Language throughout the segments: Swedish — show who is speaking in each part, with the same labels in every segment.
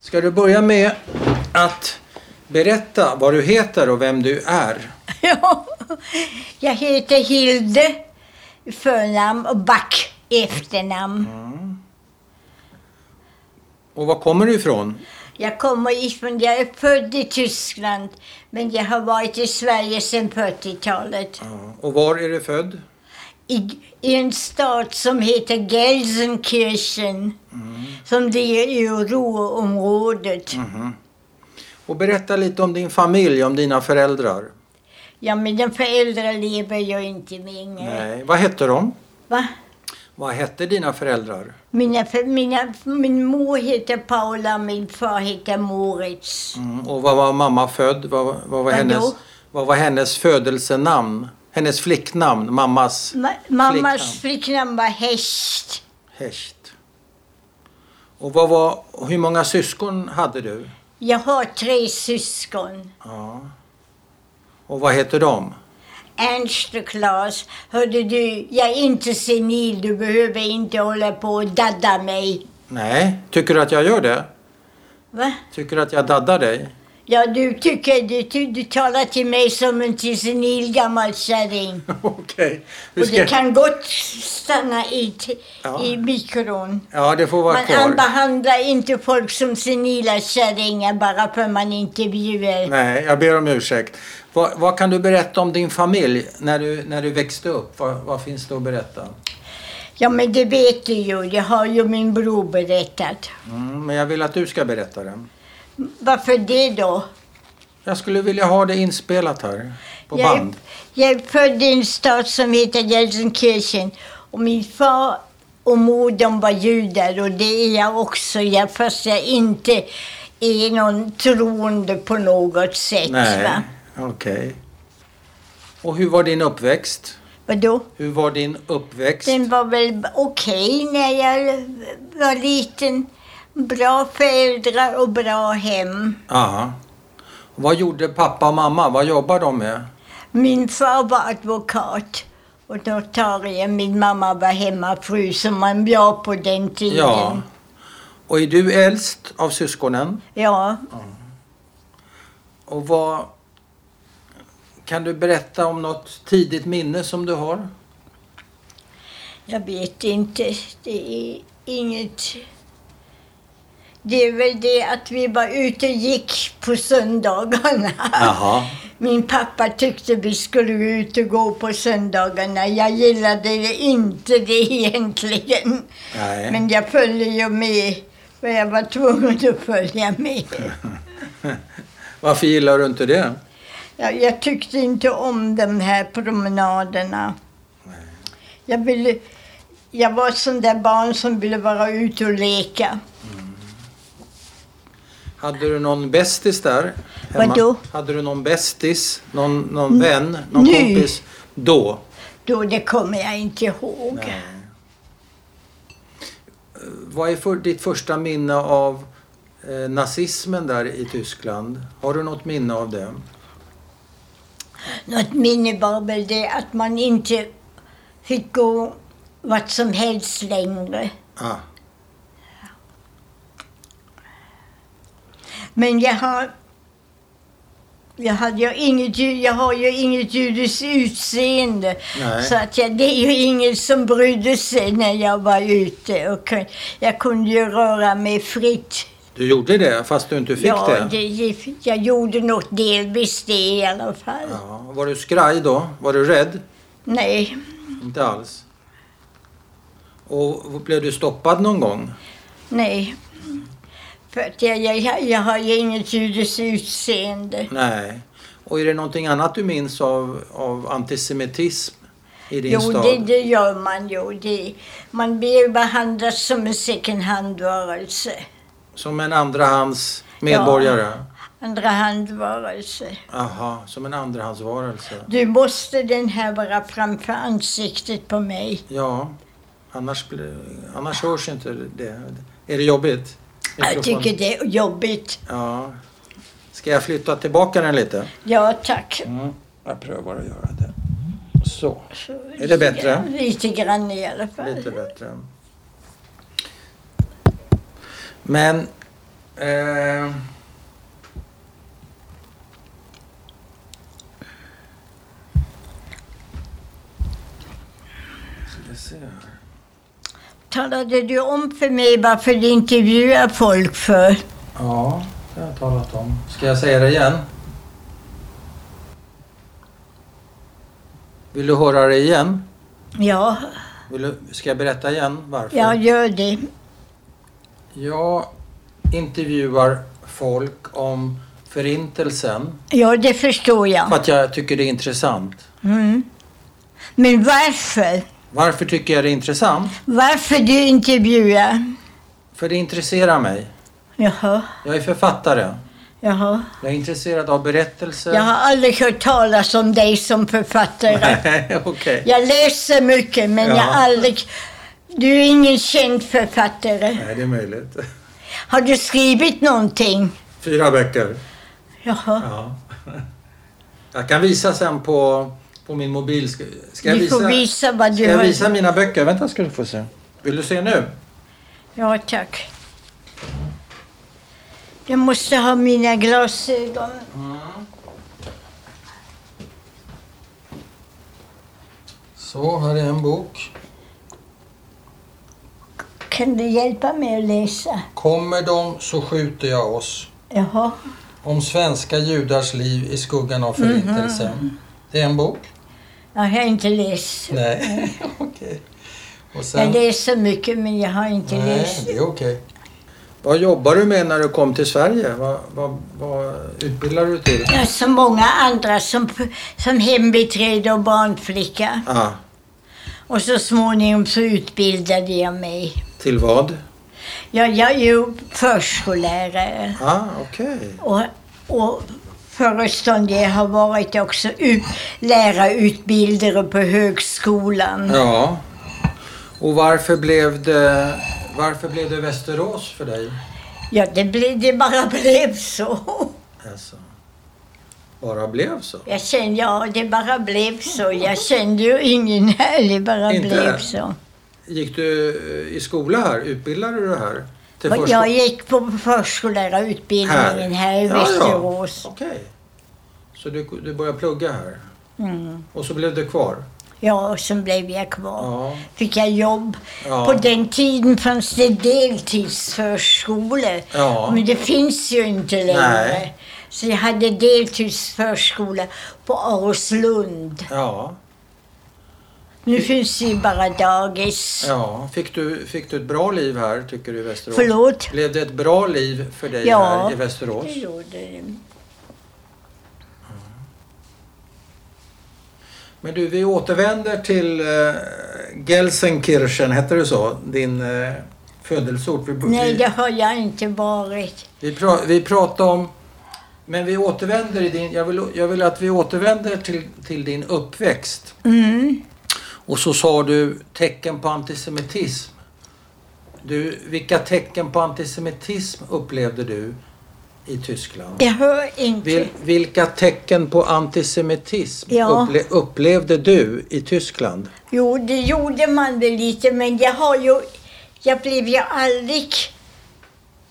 Speaker 1: Ska du börja med att berätta vad du heter och vem du är?
Speaker 2: Ja, jag heter Hilde i förnamn och Back i efternamn.
Speaker 1: Och var kommer du ifrån?
Speaker 2: Jag kommer ifrån, jag är född i Tyskland men jag har varit i Sverige sedan 40-talet.
Speaker 1: Och var är du född?
Speaker 2: I, I en stad som heter Gelsenkirchen som ligger i Ruhrområdet.
Speaker 1: Och berätta lite om din familj, om dina föräldrar.
Speaker 2: Ja, men den föräldrar lever jag inte med.
Speaker 1: Nej. Vad hette de?
Speaker 2: Va?
Speaker 1: Vad hette dina föräldrar?
Speaker 2: Mina, för- mina, min mor heter Paula, min far heter Moritz.
Speaker 1: Mm. Och vad var mamma född? Vad, vad, var
Speaker 2: Vadå?
Speaker 1: hennes, vad var hennes födelsenamn? Hennes flicknamn? Mammas
Speaker 2: Ma- mammas flicknamn var Häst.
Speaker 1: häst. Och vad var, hur många syskon hade du?
Speaker 2: Jag har tre syskon.
Speaker 1: Ja. Och vad heter de?
Speaker 2: Ernst och Claes, hörde du, jag är inte senil. Du behöver inte hålla på och dadda mig.
Speaker 1: Nej. Tycker du att jag gör det?
Speaker 2: Va?
Speaker 1: Tycker du att jag daddar dig?
Speaker 2: Ja, du tycker, du, du, du talar till mig som en till senil gammal kärring.
Speaker 1: Okej. Vi
Speaker 2: Och
Speaker 1: ska-
Speaker 2: det kan gott stanna i, t-
Speaker 1: Ja.
Speaker 2: i mikron.
Speaker 1: Ja, det får vara
Speaker 2: Man
Speaker 1: kvar.
Speaker 2: behandlar inte folk som senila kärringar bara för man intervjuar.
Speaker 1: Nej, jag ber om ursäkt. Vad, vad kan du berätta om din familj när du, när du växte upp? Vad, vad finns det att berätta?
Speaker 2: Ja, men det vet du ju. Det har ju min bror berättat.
Speaker 1: Mm, men jag vill att du ska berätta den.
Speaker 2: Varför det då?
Speaker 1: Jag skulle vilja ha det inspelat här på
Speaker 2: jag, är,
Speaker 1: band.
Speaker 2: jag är född i en stad som heter Gelsenkirchen. Och min far och mor de var judar och det är jag också. Jag, fast jag inte är någon troende på något sätt.
Speaker 1: Nej,
Speaker 2: Va?
Speaker 1: okej. Och hur var din uppväxt?
Speaker 2: Vadå?
Speaker 1: Hur var din uppväxt?
Speaker 2: Den var väl okej när jag var liten. Bra föräldrar och bra hem.
Speaker 1: Aha. Vad gjorde pappa och mamma? Vad jobbar de med?
Speaker 2: Min far var advokat och notarie. Min mamma var hemmafru som man var på den tiden.
Speaker 1: Ja. Och är du äldst av syskonen?
Speaker 2: ja.
Speaker 1: Och vad... Kan du berätta om något tidigt minne som du har?
Speaker 2: Jag vet inte. Det är inget... Det är väl det att vi var ute och gick på söndagarna.
Speaker 1: Jaha.
Speaker 2: Min pappa tyckte vi skulle gå ut och gå på söndagarna. Jag gillade det inte det egentligen.
Speaker 1: Nej.
Speaker 2: Men jag följde ju med. För jag var tvungen att följa med.
Speaker 1: Varför gillar du inte det?
Speaker 2: Jag, jag tyckte inte om de här promenaderna. Jag, ville, jag var ett sånt där barn som ville vara ute och leka.
Speaker 1: Hade du någon bästis där?
Speaker 2: Vadå?
Speaker 1: Hade du någon bästis? Någon, någon vän? Någon
Speaker 2: nu.
Speaker 1: kompis? Då?
Speaker 2: Då det kommer jag inte ihåg.
Speaker 1: Nej. Eh, Vad är för, ditt första minne av eh, nazismen där i Tyskland? Har du något minne av det?
Speaker 2: Något minne var väl det att man inte fick gå vart som helst längre.
Speaker 1: Ah.
Speaker 2: Men jag har... Jag, hade ju inget, ju- jag har ju inget judiskt utseende.
Speaker 1: Nej.
Speaker 2: Så att jag, det är ju ingen som brydde sig när jag var ute. Och kun- jag kunde ju röra mig fritt.
Speaker 1: Du gjorde det fast du inte fick
Speaker 2: ja,
Speaker 1: det?
Speaker 2: det- Jag gjorde något delvis det i alla fall.
Speaker 1: Ja. Var du skraj då? Var du rädd?
Speaker 2: Nej.
Speaker 1: Inte alls? Och blev du stoppad någon gång?
Speaker 2: Nej. För att jag, jag- jag, jag har ju inget judiskt utseende.
Speaker 1: Nej. Och är det någonting annat du minns av, av antisemitism i din
Speaker 2: Jo,
Speaker 1: stad?
Speaker 2: det, det gör man ju. Det, man blir behandlad som en second hand-varelse.
Speaker 1: Som en andrahands medborgare?
Speaker 2: Andrahandvarelse.
Speaker 1: Aha, som en andrahandsvarelse.
Speaker 2: Du måste den här vara framför ansiktet på mig.
Speaker 1: Ja, annars, blir- annars hörs inte det. Är det jobbigt?
Speaker 2: Jag tycker det är jobbigt.
Speaker 1: Ja. Ska jag flytta tillbaka den lite?
Speaker 2: Ja, tack.
Speaker 1: Mm. Jag prövar att göra det. Så. Är det bättre?
Speaker 2: Lite grann i alla fall.
Speaker 1: Lite bättre. Men Eh, ska vi se här.
Speaker 2: Talade du om för mig varför du intervjuar folk för?
Speaker 1: Ja, det har jag talat om. Ska jag säga det igen? Vill du höra det igen?
Speaker 2: Ja,
Speaker 1: Vill du, ska jag berätta igen varför?
Speaker 2: jag gör det.
Speaker 1: Jag intervjuar folk om Förintelsen
Speaker 2: Ja, det
Speaker 1: för
Speaker 2: förstår jag.
Speaker 1: att jag tycker det är intressant.
Speaker 2: Mm. Men varför?
Speaker 1: Varför tycker jag det är intressant?
Speaker 2: Varför du intervjuar?
Speaker 1: För det intresserar mig.
Speaker 2: Jaha,
Speaker 1: Jag är författare.
Speaker 2: jaha.
Speaker 1: Jag är intresserad av berättelser.
Speaker 2: Jag har aldrig hört talas om dig som författare.
Speaker 1: Okej.
Speaker 2: Jag läser mycket, men
Speaker 1: Ja.
Speaker 2: jag har aldrig... Du är ingen känd författare.
Speaker 1: Nej, det är möjligt.
Speaker 2: Har du skrivit någonting?
Speaker 1: Fyra böcker.
Speaker 2: Jaha.
Speaker 1: Ja. Jag kan visa sen på, på min mobil. Ska, ska jag
Speaker 2: Du
Speaker 1: visa,
Speaker 2: får visa vad
Speaker 1: ska
Speaker 2: du
Speaker 1: jag
Speaker 2: har...
Speaker 1: visa mina böcker? Vänta ska du få se. Vill du se nu?
Speaker 2: Ja, tack. Jag måste ha mina glasögon.
Speaker 1: Mm. Så, här är en bok.
Speaker 2: Kan du hjälpa mig att läsa?
Speaker 1: Kommer de så skjuter jag oss.
Speaker 2: Jaha.
Speaker 1: Om svenska judars liv i skuggan av förintelsen. Det är en bok?
Speaker 2: Jag har inte läst.
Speaker 1: Nej, okej. Och
Speaker 2: Jag
Speaker 1: sen...
Speaker 2: läser mycket, men jag har inte
Speaker 1: Nej,
Speaker 2: läst.
Speaker 1: det är okej. Vad jobbar du med när du kom till Sverige? Vad, vad, vad utbildar du till?
Speaker 2: Jag är så många andra som, som hembiträde och barnflicka.
Speaker 1: Ah,
Speaker 2: Och så småningom så utbildade jag mig.
Speaker 1: till vad?
Speaker 2: Ja, jag är ju förskollärare
Speaker 1: Ah, okej.
Speaker 2: och, och föreståndare. Jag har varit också ut, lärarutbildare på högskolan.
Speaker 1: Ja. Och varför blev det... Varför blev det Västerås för dig?
Speaker 2: Ja, det, ble, det bara blev så.
Speaker 1: Alltså, bara blev så?
Speaker 2: Jag kände, ja, det bara blev så. Jag kände ju ingen här, det bara
Speaker 1: Inte?
Speaker 2: blev så.
Speaker 1: Gick du eh, i skola här? Utbildade du dig här? Till
Speaker 2: Och
Speaker 1: försko-
Speaker 2: Jag gick på förskollärarutbildningen här, i Västerås.
Speaker 1: Ja, ja. Okej. Så du, du började plugga här
Speaker 2: Mm.
Speaker 1: och så blev du kvar?
Speaker 2: Ja, och sen blev jag kvar.
Speaker 1: Ja.
Speaker 2: Fick jag jobb.
Speaker 1: Ja.
Speaker 2: På den tiden fanns det deltidsförskolor.
Speaker 1: Ja.
Speaker 2: Men det finns ju inte längre.
Speaker 1: Nej.
Speaker 2: Så jag hade deltidsförskola på Aroslund.
Speaker 1: Ja.
Speaker 2: Nu finns det ju bara dagis.
Speaker 1: ja. Fick, du, fick du ett bra liv här tycker du i Västerås?
Speaker 2: Förlåt?
Speaker 1: Blev det ett bra liv för dig
Speaker 2: Ja.
Speaker 1: här i Västerås?
Speaker 2: Det gjorde det.
Speaker 1: Men du, vi återvänder till eh, Gelsenkirchen, hette det så? Din eh, födelseort. Vi,
Speaker 2: Nej,
Speaker 1: vi,
Speaker 2: det har jag inte varit.
Speaker 1: vi, pra, vi pratar om... Men vi återvänder i din... Jag vill, jag vill att vi återvänder till, till din uppväxt.
Speaker 2: Mm.
Speaker 1: Och så sa du tecken på antisemitism. Du, vilka tecken på antisemitism upplevde du i Tyskland?
Speaker 2: Det hör inte.
Speaker 1: Vil, vilka tecken på antisemitism
Speaker 2: Ja.
Speaker 1: upple, upplevde du i Tyskland?
Speaker 2: Jo, det gjorde man väl lite, men jag har ju... Jag blev ju aldrig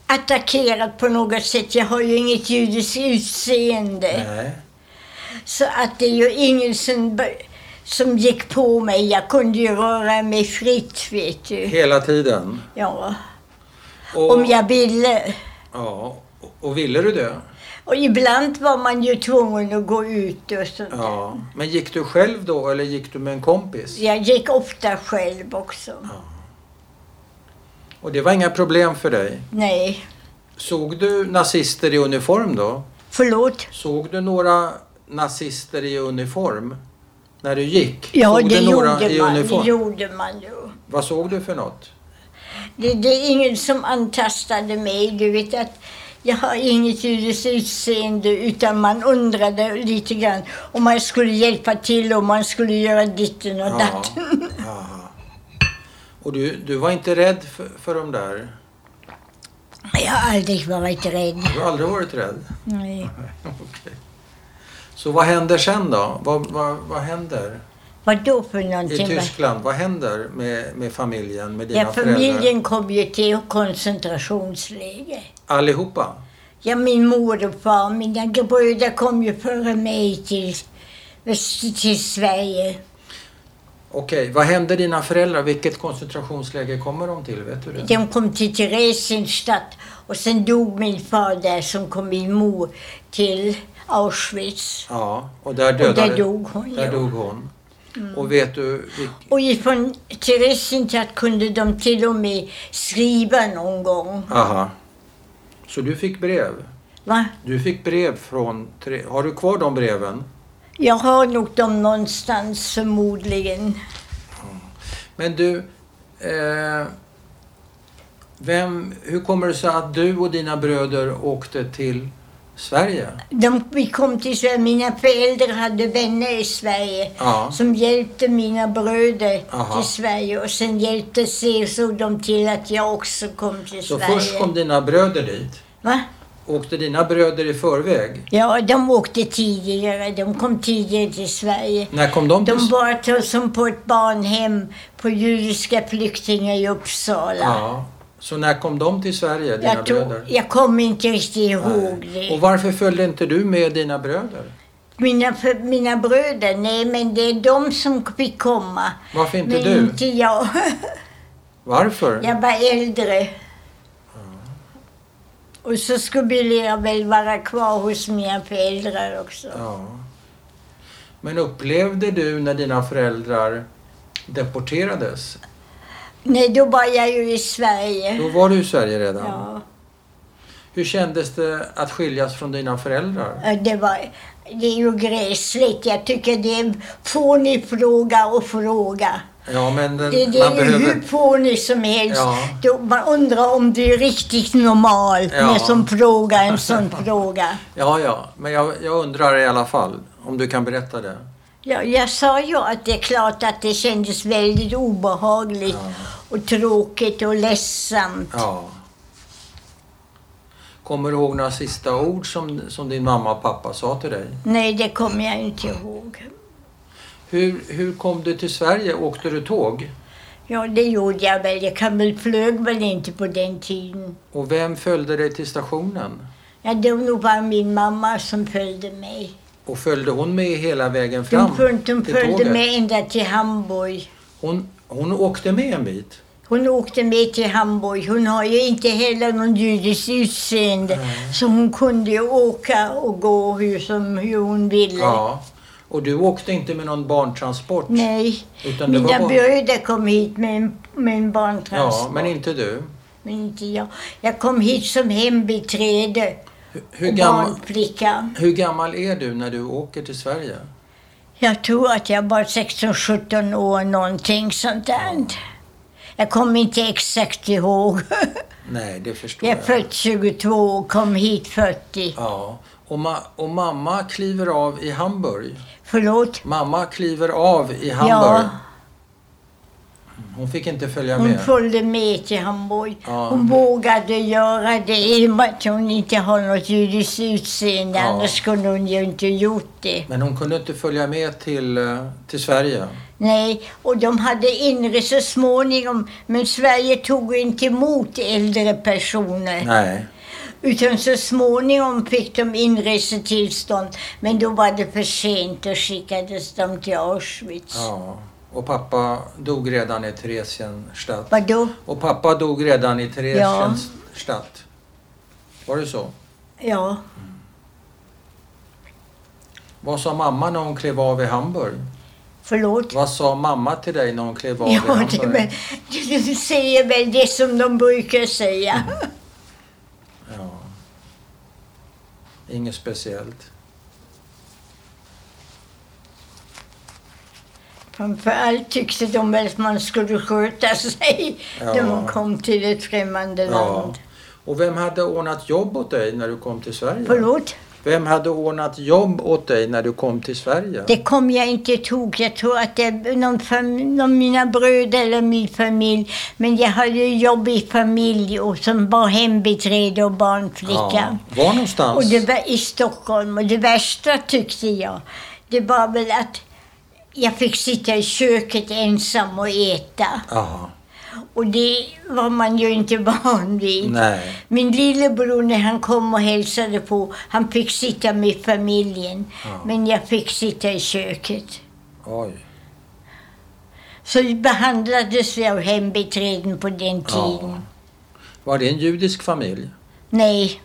Speaker 2: attackerad på något sätt. Jag har ju inget judiskt utseende.
Speaker 1: Nej.
Speaker 2: Så att det är ju ingen som, b- som gick på mig. Jag kunde ju röra mig fritt, vet du.
Speaker 1: Hela tiden?
Speaker 2: Ja,
Speaker 1: Och,
Speaker 2: om jag ville.
Speaker 1: Ja, och- och ville du det?
Speaker 2: Och ibland var man ju tvungen att gå ut och sånt där.
Speaker 1: Ja. Men gick du själv då eller gick du med en kompis?
Speaker 2: Jag gick ofta själv också.
Speaker 1: Och det var inga problem för dig?
Speaker 2: Nej,
Speaker 1: Såg du nazister i uniform då?
Speaker 2: förlåt.
Speaker 1: Såg du några nazister i uniform när du gick?
Speaker 2: Ja,
Speaker 1: såg
Speaker 2: det
Speaker 1: du några
Speaker 2: gjorde,
Speaker 1: i
Speaker 2: man, det
Speaker 1: uniform?
Speaker 2: gjorde man ju.
Speaker 1: Vad såg du för något?
Speaker 2: Det, det är ingen som antastade mig. Du vet att jag har inget judiskt utseende utan man undrade lite grann om man skulle hjälpa till om man skulle göra ditten och datten.
Speaker 1: Jaha. Och du, du var inte rädd för, för de där?
Speaker 2: Jag har aldrig varit rädd.
Speaker 1: Du har aldrig varit rädd?
Speaker 2: Nej.
Speaker 1: Okej. Så vad händer sen då? Vad, vad, vad händer?
Speaker 2: Vad då för någonting?
Speaker 1: I Tyskland, vad händer med, med familjen, med dina
Speaker 2: ja,
Speaker 1: föräldrar?
Speaker 2: familjen kom ju till koncentrationsläger.
Speaker 1: Allihopa?
Speaker 2: Ja, min mor och far, mina bröder kom ju före mig till, till Sverige.
Speaker 1: Okej, vad hände dina föräldrar? Vilket koncentrationsläger kommer de till? Vet du det?
Speaker 2: De kom till Theresienstadt och sen dog min far där som kom min mor till Auschwitz.
Speaker 1: Ja, och där
Speaker 2: Och
Speaker 1: dödade...
Speaker 2: där dog hon. Mm.
Speaker 1: Där
Speaker 2: ja.
Speaker 1: dog hon. Och vet du... vilk-
Speaker 2: Och ifrån Theresienstadt kunde de till och med skriva någon gång.
Speaker 1: Aha. Så du fick brev?
Speaker 2: Va?
Speaker 1: Du fick brev från... Tre... Har du kvar de breven?
Speaker 2: Jag har nog dem någonstans förmodligen.
Speaker 1: Men du... Eh... Vem, hur kommer det sig att du och dina bröder åkte till Sverige?
Speaker 2: De, vi kom till Sverige. Mina föräldrar hade vänner i Sverige
Speaker 1: Ja.
Speaker 2: som hjälpte mina bröder
Speaker 1: Aha.
Speaker 2: till Sverige och sen hjälpte sig såg de till att jag också kom till
Speaker 1: Så
Speaker 2: Sverige.
Speaker 1: först kom dina bröder dit.
Speaker 2: Va?
Speaker 1: Åkte dina bröder i förväg?
Speaker 2: Ja, de åkte tidigare. De kom tidigare till Sverige.
Speaker 1: När kom de,
Speaker 2: De
Speaker 1: till
Speaker 2: var till, som på ett barnhem på judiska flyktingar i Uppsala.
Speaker 1: Ja. Så när kom de till Sverige, dina
Speaker 2: jag, tog,
Speaker 1: bröder?
Speaker 2: jag kommer inte riktigt ihåg
Speaker 1: Nej.
Speaker 2: det.
Speaker 1: Och varför följde inte du med dina bröder?
Speaker 2: Mina, för- mina bröder, nej men det är de som fick komma.
Speaker 1: Varför inte
Speaker 2: men
Speaker 1: du?
Speaker 2: inte jag.
Speaker 1: Varför?
Speaker 2: Jag var äldre. Och så skulle jag väl vara kvar hos mina föräldrar också.
Speaker 1: Ja. Men upplevde du när dina föräldrar deporterades?
Speaker 2: Nej, då var jag ju i Sverige.
Speaker 1: Då var du i Sverige redan.
Speaker 2: Ja.
Speaker 1: Hur kändes det att skiljas från dina föräldrar?
Speaker 2: Ja, Eh, Det, var, det är ju gräsligt. Jag tycker det får ni fråga och fråga.
Speaker 1: Ja, men den,
Speaker 2: Det, det
Speaker 1: man
Speaker 2: är ju
Speaker 1: behöver...
Speaker 2: hur fånig som helst.
Speaker 1: Ja.
Speaker 2: Då, man undrar om det är riktigt normalt
Speaker 1: Ja.
Speaker 2: med som fråga en sån fråga.
Speaker 1: Ja, ja. Men jag, jag undrar i alla fall om du kan berätta det.
Speaker 2: Ja, jag sa ju att det är klart att det kändes väldigt obehagligt och tråkigt och ledsamt.
Speaker 1: Ja. Kommer du ihåg några sista ord som, som din mamma och pappa sa till dig?
Speaker 2: Nej, det kommer jag inte ihåg.
Speaker 1: Hur, hur kom du till Sverige? Åkte du tåg?
Speaker 2: Ja, det gjorde jag väl. Jag kan väl flög väl inte på den tiden.
Speaker 1: Och vem följde dig till stationen?
Speaker 2: Ja, det var nog bara min mamma som följde mig.
Speaker 1: Och följde hon med hela vägen fram
Speaker 2: De, föl- de
Speaker 1: till
Speaker 2: följde
Speaker 1: tåget?
Speaker 2: mig ända till Hamburg.
Speaker 1: Hon, hon åkte med en bit?
Speaker 2: Hon åkte med till Hamburg. Hon har ju inte heller någon judisk utseende. Så hon kunde ju åka och gå hur, som, hur hon ville.
Speaker 1: Ja. Och du åkte inte med någon barntransport?
Speaker 2: Nej,
Speaker 1: Utan det var
Speaker 2: mina
Speaker 1: barn-
Speaker 2: bröder kom hit med en, med en
Speaker 1: Ja,
Speaker 2: barntransport.
Speaker 1: men inte du.
Speaker 2: men inte jag. Jag kom hit som hembiträde
Speaker 1: Hur, hur,
Speaker 2: och
Speaker 1: gammal,
Speaker 2: barnflicka.
Speaker 1: hur gammal är du när du åker till Sverige?
Speaker 2: Jag tror att jag var 16-17 år, någonting sånt där. Jag kommer inte exakt ihåg.
Speaker 1: Nej, det förstår
Speaker 2: Jag är
Speaker 1: jag.
Speaker 2: född 22 och kom hit 40.
Speaker 1: Ja. Och, ma- och mamma kliver av i Hamburg.
Speaker 2: Förlåt?
Speaker 1: Mamma kliver av i Hamburg.
Speaker 2: Ja,
Speaker 1: Hon fick inte följa
Speaker 2: hon
Speaker 1: med.
Speaker 2: följde med till Hamburg.
Speaker 1: Ja.
Speaker 2: Hon vågade göra det i och med att hon inte har något judiskt utseende.
Speaker 1: Ja.
Speaker 2: Annars skulle hon ju inte gjort det.
Speaker 1: Men hon kunde inte följa med till, eh, till Sverige.
Speaker 2: Nej, och de hade inre så småningom. Men Sverige tog ju inte emot äldre personer.
Speaker 1: Nej.
Speaker 2: Utan så småningom fick de inresetillstånd. Men då var det för sent och skickades de till Auschwitz.
Speaker 1: Ja. Och pappa dog redan i Theresienstadt.
Speaker 2: Vadå?
Speaker 1: Och pappa dog redan i Theresienstadt. Var det så?
Speaker 2: Ja.
Speaker 1: Vad sa mamma när hon klev av i Hamburg?
Speaker 2: Förlåt?
Speaker 1: Vad sa mamma till dig när hon klev av i
Speaker 2: Ja,
Speaker 1: Hamburg?
Speaker 2: det, men, du säger väl det som de brukar säga.
Speaker 1: Ja. Inget speciellt.
Speaker 2: Framförallt tyckte de väl att man skulle sköta sig
Speaker 1: Ja.
Speaker 2: när man kom till ett främmande
Speaker 1: Ja.
Speaker 2: land.
Speaker 1: Och vem hade ordnat jobb åt dig när du kom till Sverige?
Speaker 2: Förlåt?
Speaker 1: Vem hade ordnat jobb åt dig när du kom till Sverige?
Speaker 2: Det kom jag inte ihåg. Jag tror att det är någon, fam- någon mina bröder eller min familj. Men jag hade ju jobb i familj och som var hembiträde och barnflicka.
Speaker 1: Ja. Var någonstans?
Speaker 2: Och det var i Stockholm. Och det värsta tyckte jag, det var väl att Jag fick sitta i köket ensam och äta.
Speaker 1: Jaha.
Speaker 2: Och det var man ju inte van vid.
Speaker 1: Nej.
Speaker 2: Min lillebror när han kom och hälsade på, han fick sitta med familjen.
Speaker 1: Ja.
Speaker 2: Men jag fick sitta i köket.
Speaker 1: Oj.
Speaker 2: Så behandlades vi av hembiträden på den
Speaker 1: Ja.
Speaker 2: tiden.
Speaker 1: Var det en judisk familj?
Speaker 2: Nej.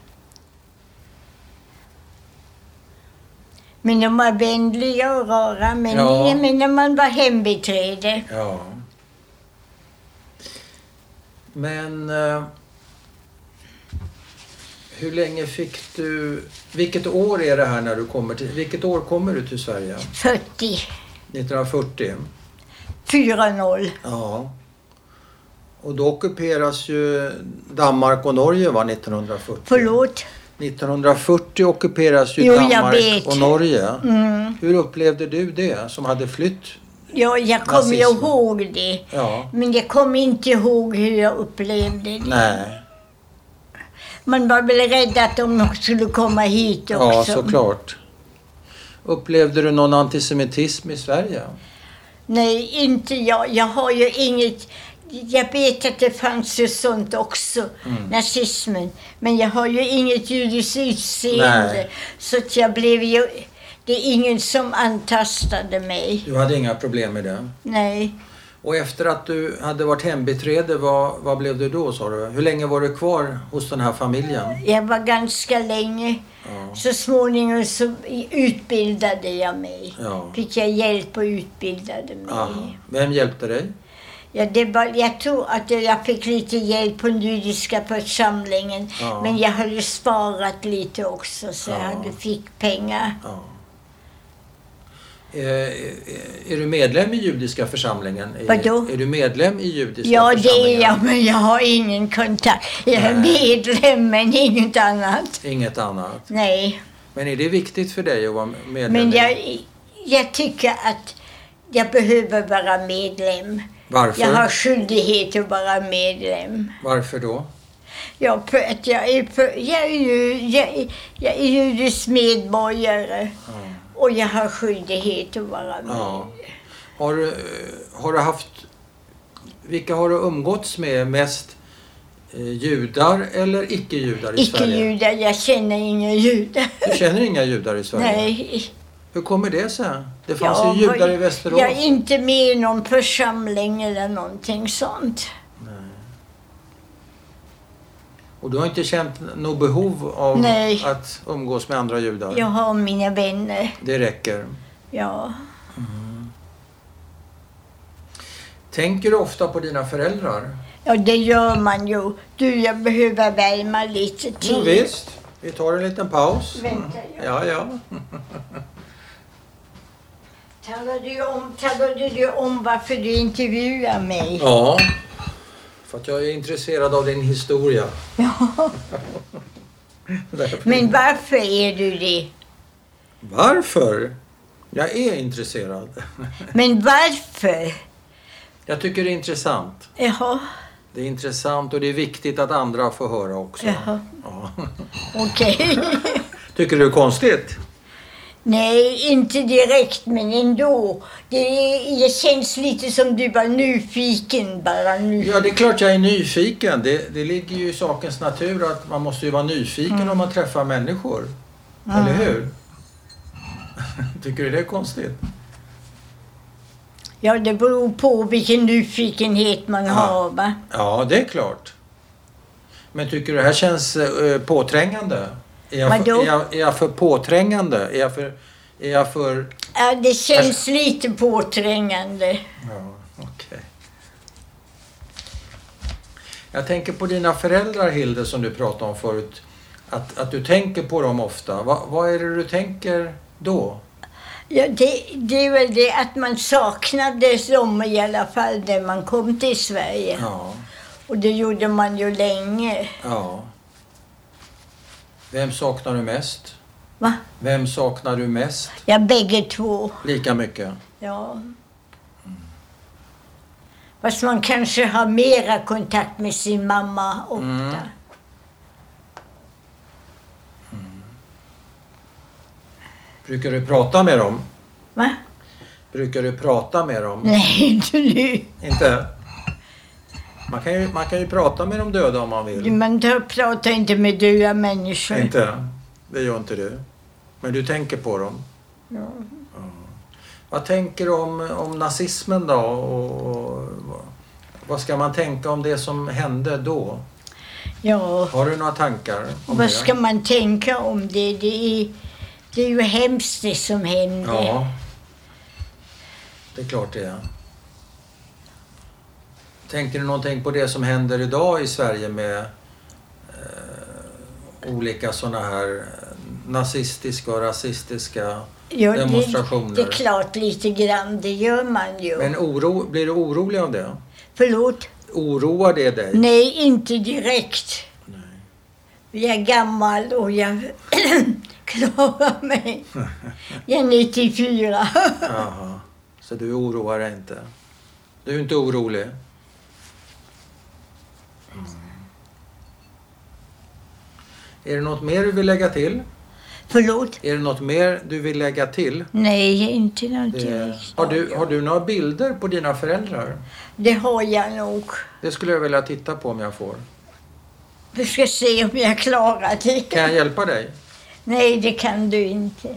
Speaker 2: Men de var vänliga och rara. Men,
Speaker 1: Ja.
Speaker 2: jag menar, man var hembiträde.
Speaker 1: Ja. Men... Eh, hur länge fick du... Vilket år är det här när du kommer till... Vilket år kommer du till Sverige?
Speaker 2: 40.
Speaker 1: 1940?
Speaker 2: 4-0.
Speaker 1: Ja. Och då ockuperas ju Danmark och Norge va, 1940?
Speaker 2: Förlåt.
Speaker 1: 1940 ockuperas ju
Speaker 2: Jo, jag
Speaker 1: Danmark
Speaker 2: vet.
Speaker 1: och Norge.
Speaker 2: Mm.
Speaker 1: Hur upplevde du det som hade flytt?
Speaker 2: Ja, jag kommer ju
Speaker 1: Nazismen.
Speaker 2: ihåg det.
Speaker 1: Ja.
Speaker 2: Men jag kommer inte ihåg hur jag upplevde det.
Speaker 1: Nej.
Speaker 2: Man var väl rädd att de skulle komma hit också.
Speaker 1: Ja, såklart. Upplevde du någon antisemitism i Sverige?
Speaker 2: Nej, inte jag. Jag har ju inget... Jag vet att det fanns ju sånt också,
Speaker 1: Mm.
Speaker 2: nazismen. Men jag har ju inget judiskt utseende.
Speaker 1: Nej.
Speaker 2: Så att jag blev ju... Det är ingen som antastade mig.
Speaker 1: Du hade inga problem med det?
Speaker 2: Nej.
Speaker 1: Och efter att du hade varit hembiträde, vad, vad blev du då sa du? Hur länge var du kvar hos den här familjen?
Speaker 2: Jag var ganska länge.
Speaker 1: Ja.
Speaker 2: Så småningom så utbildade jag mig.
Speaker 1: Ja.
Speaker 2: Fick jag hjälp och utbildade mig.
Speaker 1: Aha. Vem hjälpte dig?
Speaker 2: Ja, det var, jag tror att jag fick lite hjälp på den judiska församlingen.
Speaker 1: Ja.
Speaker 2: Men jag hade sparat lite också så
Speaker 1: Ja.
Speaker 2: jag hade, fick pengar.
Speaker 1: Ja. Eh, eh, Är du medlem i judiska församlingen? I-
Speaker 2: Vadå?
Speaker 1: Är du medlem i judiska
Speaker 2: Ja, det
Speaker 1: församlingen?
Speaker 2: är jag, men jag har ingen kontakt. Jag är
Speaker 1: Nej.
Speaker 2: medlem, men inget annat.
Speaker 1: Inget annat.
Speaker 2: Nej,
Speaker 1: Men är det viktigt för dig att vara medlem?
Speaker 2: men
Speaker 1: i-
Speaker 2: jag, jag tycker att jag behöver vara medlem.
Speaker 1: Varför?
Speaker 2: Jag har skyldighet att vara medlem.
Speaker 1: Varför då?
Speaker 2: Ja, för att jag är, för, jag är ju jag är, jag är judisk medborgare och jag har skyldighet att vara med.
Speaker 1: Ja. Har, du, eh, har du haft... Vilka har du umgåtts med mest? Eh, Judar eller icke-judar i Sverige?
Speaker 2: Icke-judar, jag känner inga judar.
Speaker 1: Du känner inga judar i Sverige?
Speaker 2: Nej.
Speaker 1: Hur kommer det sig? Det fanns
Speaker 2: Ja,
Speaker 1: ju judar
Speaker 2: vad-
Speaker 1: i Västerås.
Speaker 2: Jag är inte med i någon församling eller någonting sånt.
Speaker 1: Och du har inte känt något behov av
Speaker 2: Nej.
Speaker 1: att umgås med andra judar?
Speaker 2: Jag har mina vänner.
Speaker 1: Det räcker.
Speaker 2: Ja.
Speaker 1: Tänker du ofta på dina föräldrar?
Speaker 2: ja, det gör man ju. Du, jag behöver värma lite till.
Speaker 1: Jo, visst. Vi tar en liten paus. Mm.
Speaker 2: Vänta,
Speaker 1: Ja,
Speaker 2: jag
Speaker 1: ja.
Speaker 2: talade du om, talade du om varför du intervjuar mig.
Speaker 1: Ja. För att jag är intresserad av din historia. Därför.
Speaker 2: Men varför är du det?
Speaker 1: Varför? Jag är intresserad.
Speaker 2: Men varför?
Speaker 1: Jag tycker det är intressant.
Speaker 2: Jaha,
Speaker 1: Det är intressant och det är viktigt att andra får höra också.
Speaker 2: Jaha.
Speaker 1: Ja.
Speaker 2: okej.
Speaker 1: Tycker du det är konstigt?
Speaker 2: Nej, inte direkt, men ändå. Det, det känns lite som du var nyfiken bara nu.
Speaker 1: Ja, det är klart jag är nyfiken. Det, det ligger ju i sakens natur att man måste ju vara nyfiken om man träffar människor. Eller hur? Tycker du det är konstigt?
Speaker 2: Ja, det beror på vilken nyfikenhet man
Speaker 1: Ja.
Speaker 2: har, va?
Speaker 1: Ja, det är klart. Men tycker du det här känns eh, påträngande? Är jag, för,
Speaker 2: Vadå?
Speaker 1: är, jag, är jag för påträngande? Är jag för... Är jag för
Speaker 2: Ja, det känns lite påträngande.
Speaker 1: ja, okej. Jag tänker på dina föräldrar, Hilde, som du pratade om förut. Att, att du tänker på dem ofta. Va, vad är det du tänker då?
Speaker 2: Ja, det, det är väl det att man saknade dem i alla fall när man kom till Sverige.
Speaker 1: Ja.
Speaker 2: Och det gjorde man ju länge.
Speaker 1: ja. Vem saknar du mest?
Speaker 2: Va?
Speaker 1: Vem saknar du mest?
Speaker 2: Ja, bägge två.
Speaker 1: Lika mycket?
Speaker 2: Ja. Fast man kanske har mera kontakt med sin mamma ofta.
Speaker 1: Mm. Brukar du prata med dem?
Speaker 2: Va?
Speaker 1: Brukar du prata med dem?
Speaker 2: Nej, inte nu.
Speaker 1: Inte? Man kan, ju, man kan ju prata med de döda om man vill.
Speaker 2: Man tar- pratar inte med döda människor.
Speaker 1: Mm. Inte? Det gör inte du. Men du tänker på dem.
Speaker 2: Ja.
Speaker 1: Vad tänker du om, om nazismen då? Och, och, vad- vad ska man tänka om det som hände då?
Speaker 2: ja.
Speaker 1: Har du några tankar om det?
Speaker 2: Vad ska man tänka om det? Det är, det är ju hemskt det som händer.
Speaker 1: Ja. Det är klart det är. Tänkte du någonting på det som händer idag i Sverige med eh, olika sådana här eh, nazistiska och rasistiska...
Speaker 2: Ja,
Speaker 1: Demonstrationer.
Speaker 2: Det, det är klart, lite grann. Det gör man ju.
Speaker 1: Men oro, blir du orolig av det?
Speaker 2: Förlåt?
Speaker 1: Oroar det dig?
Speaker 2: Nej, inte direkt.
Speaker 1: Nej.
Speaker 2: Jag är gammal och jag klarar mig. Jag är 94.
Speaker 1: Jaha. Så du oroar dig inte? Du är inte orolig? Mm. Är det något mer du vill lägga till?
Speaker 2: Förlåt?
Speaker 1: Är det något mer du vill lägga till?
Speaker 2: Nej, inte något
Speaker 1: Det är,
Speaker 2: direkt.
Speaker 1: har, du, har du några bilder på dina föräldrar?
Speaker 2: Det har jag nog.
Speaker 1: Det skulle jag vilja titta på om jag får.
Speaker 2: Vi ska se om jag klarar det.
Speaker 1: Kan jag hjälpa dig?
Speaker 2: Nej, det kan du inte.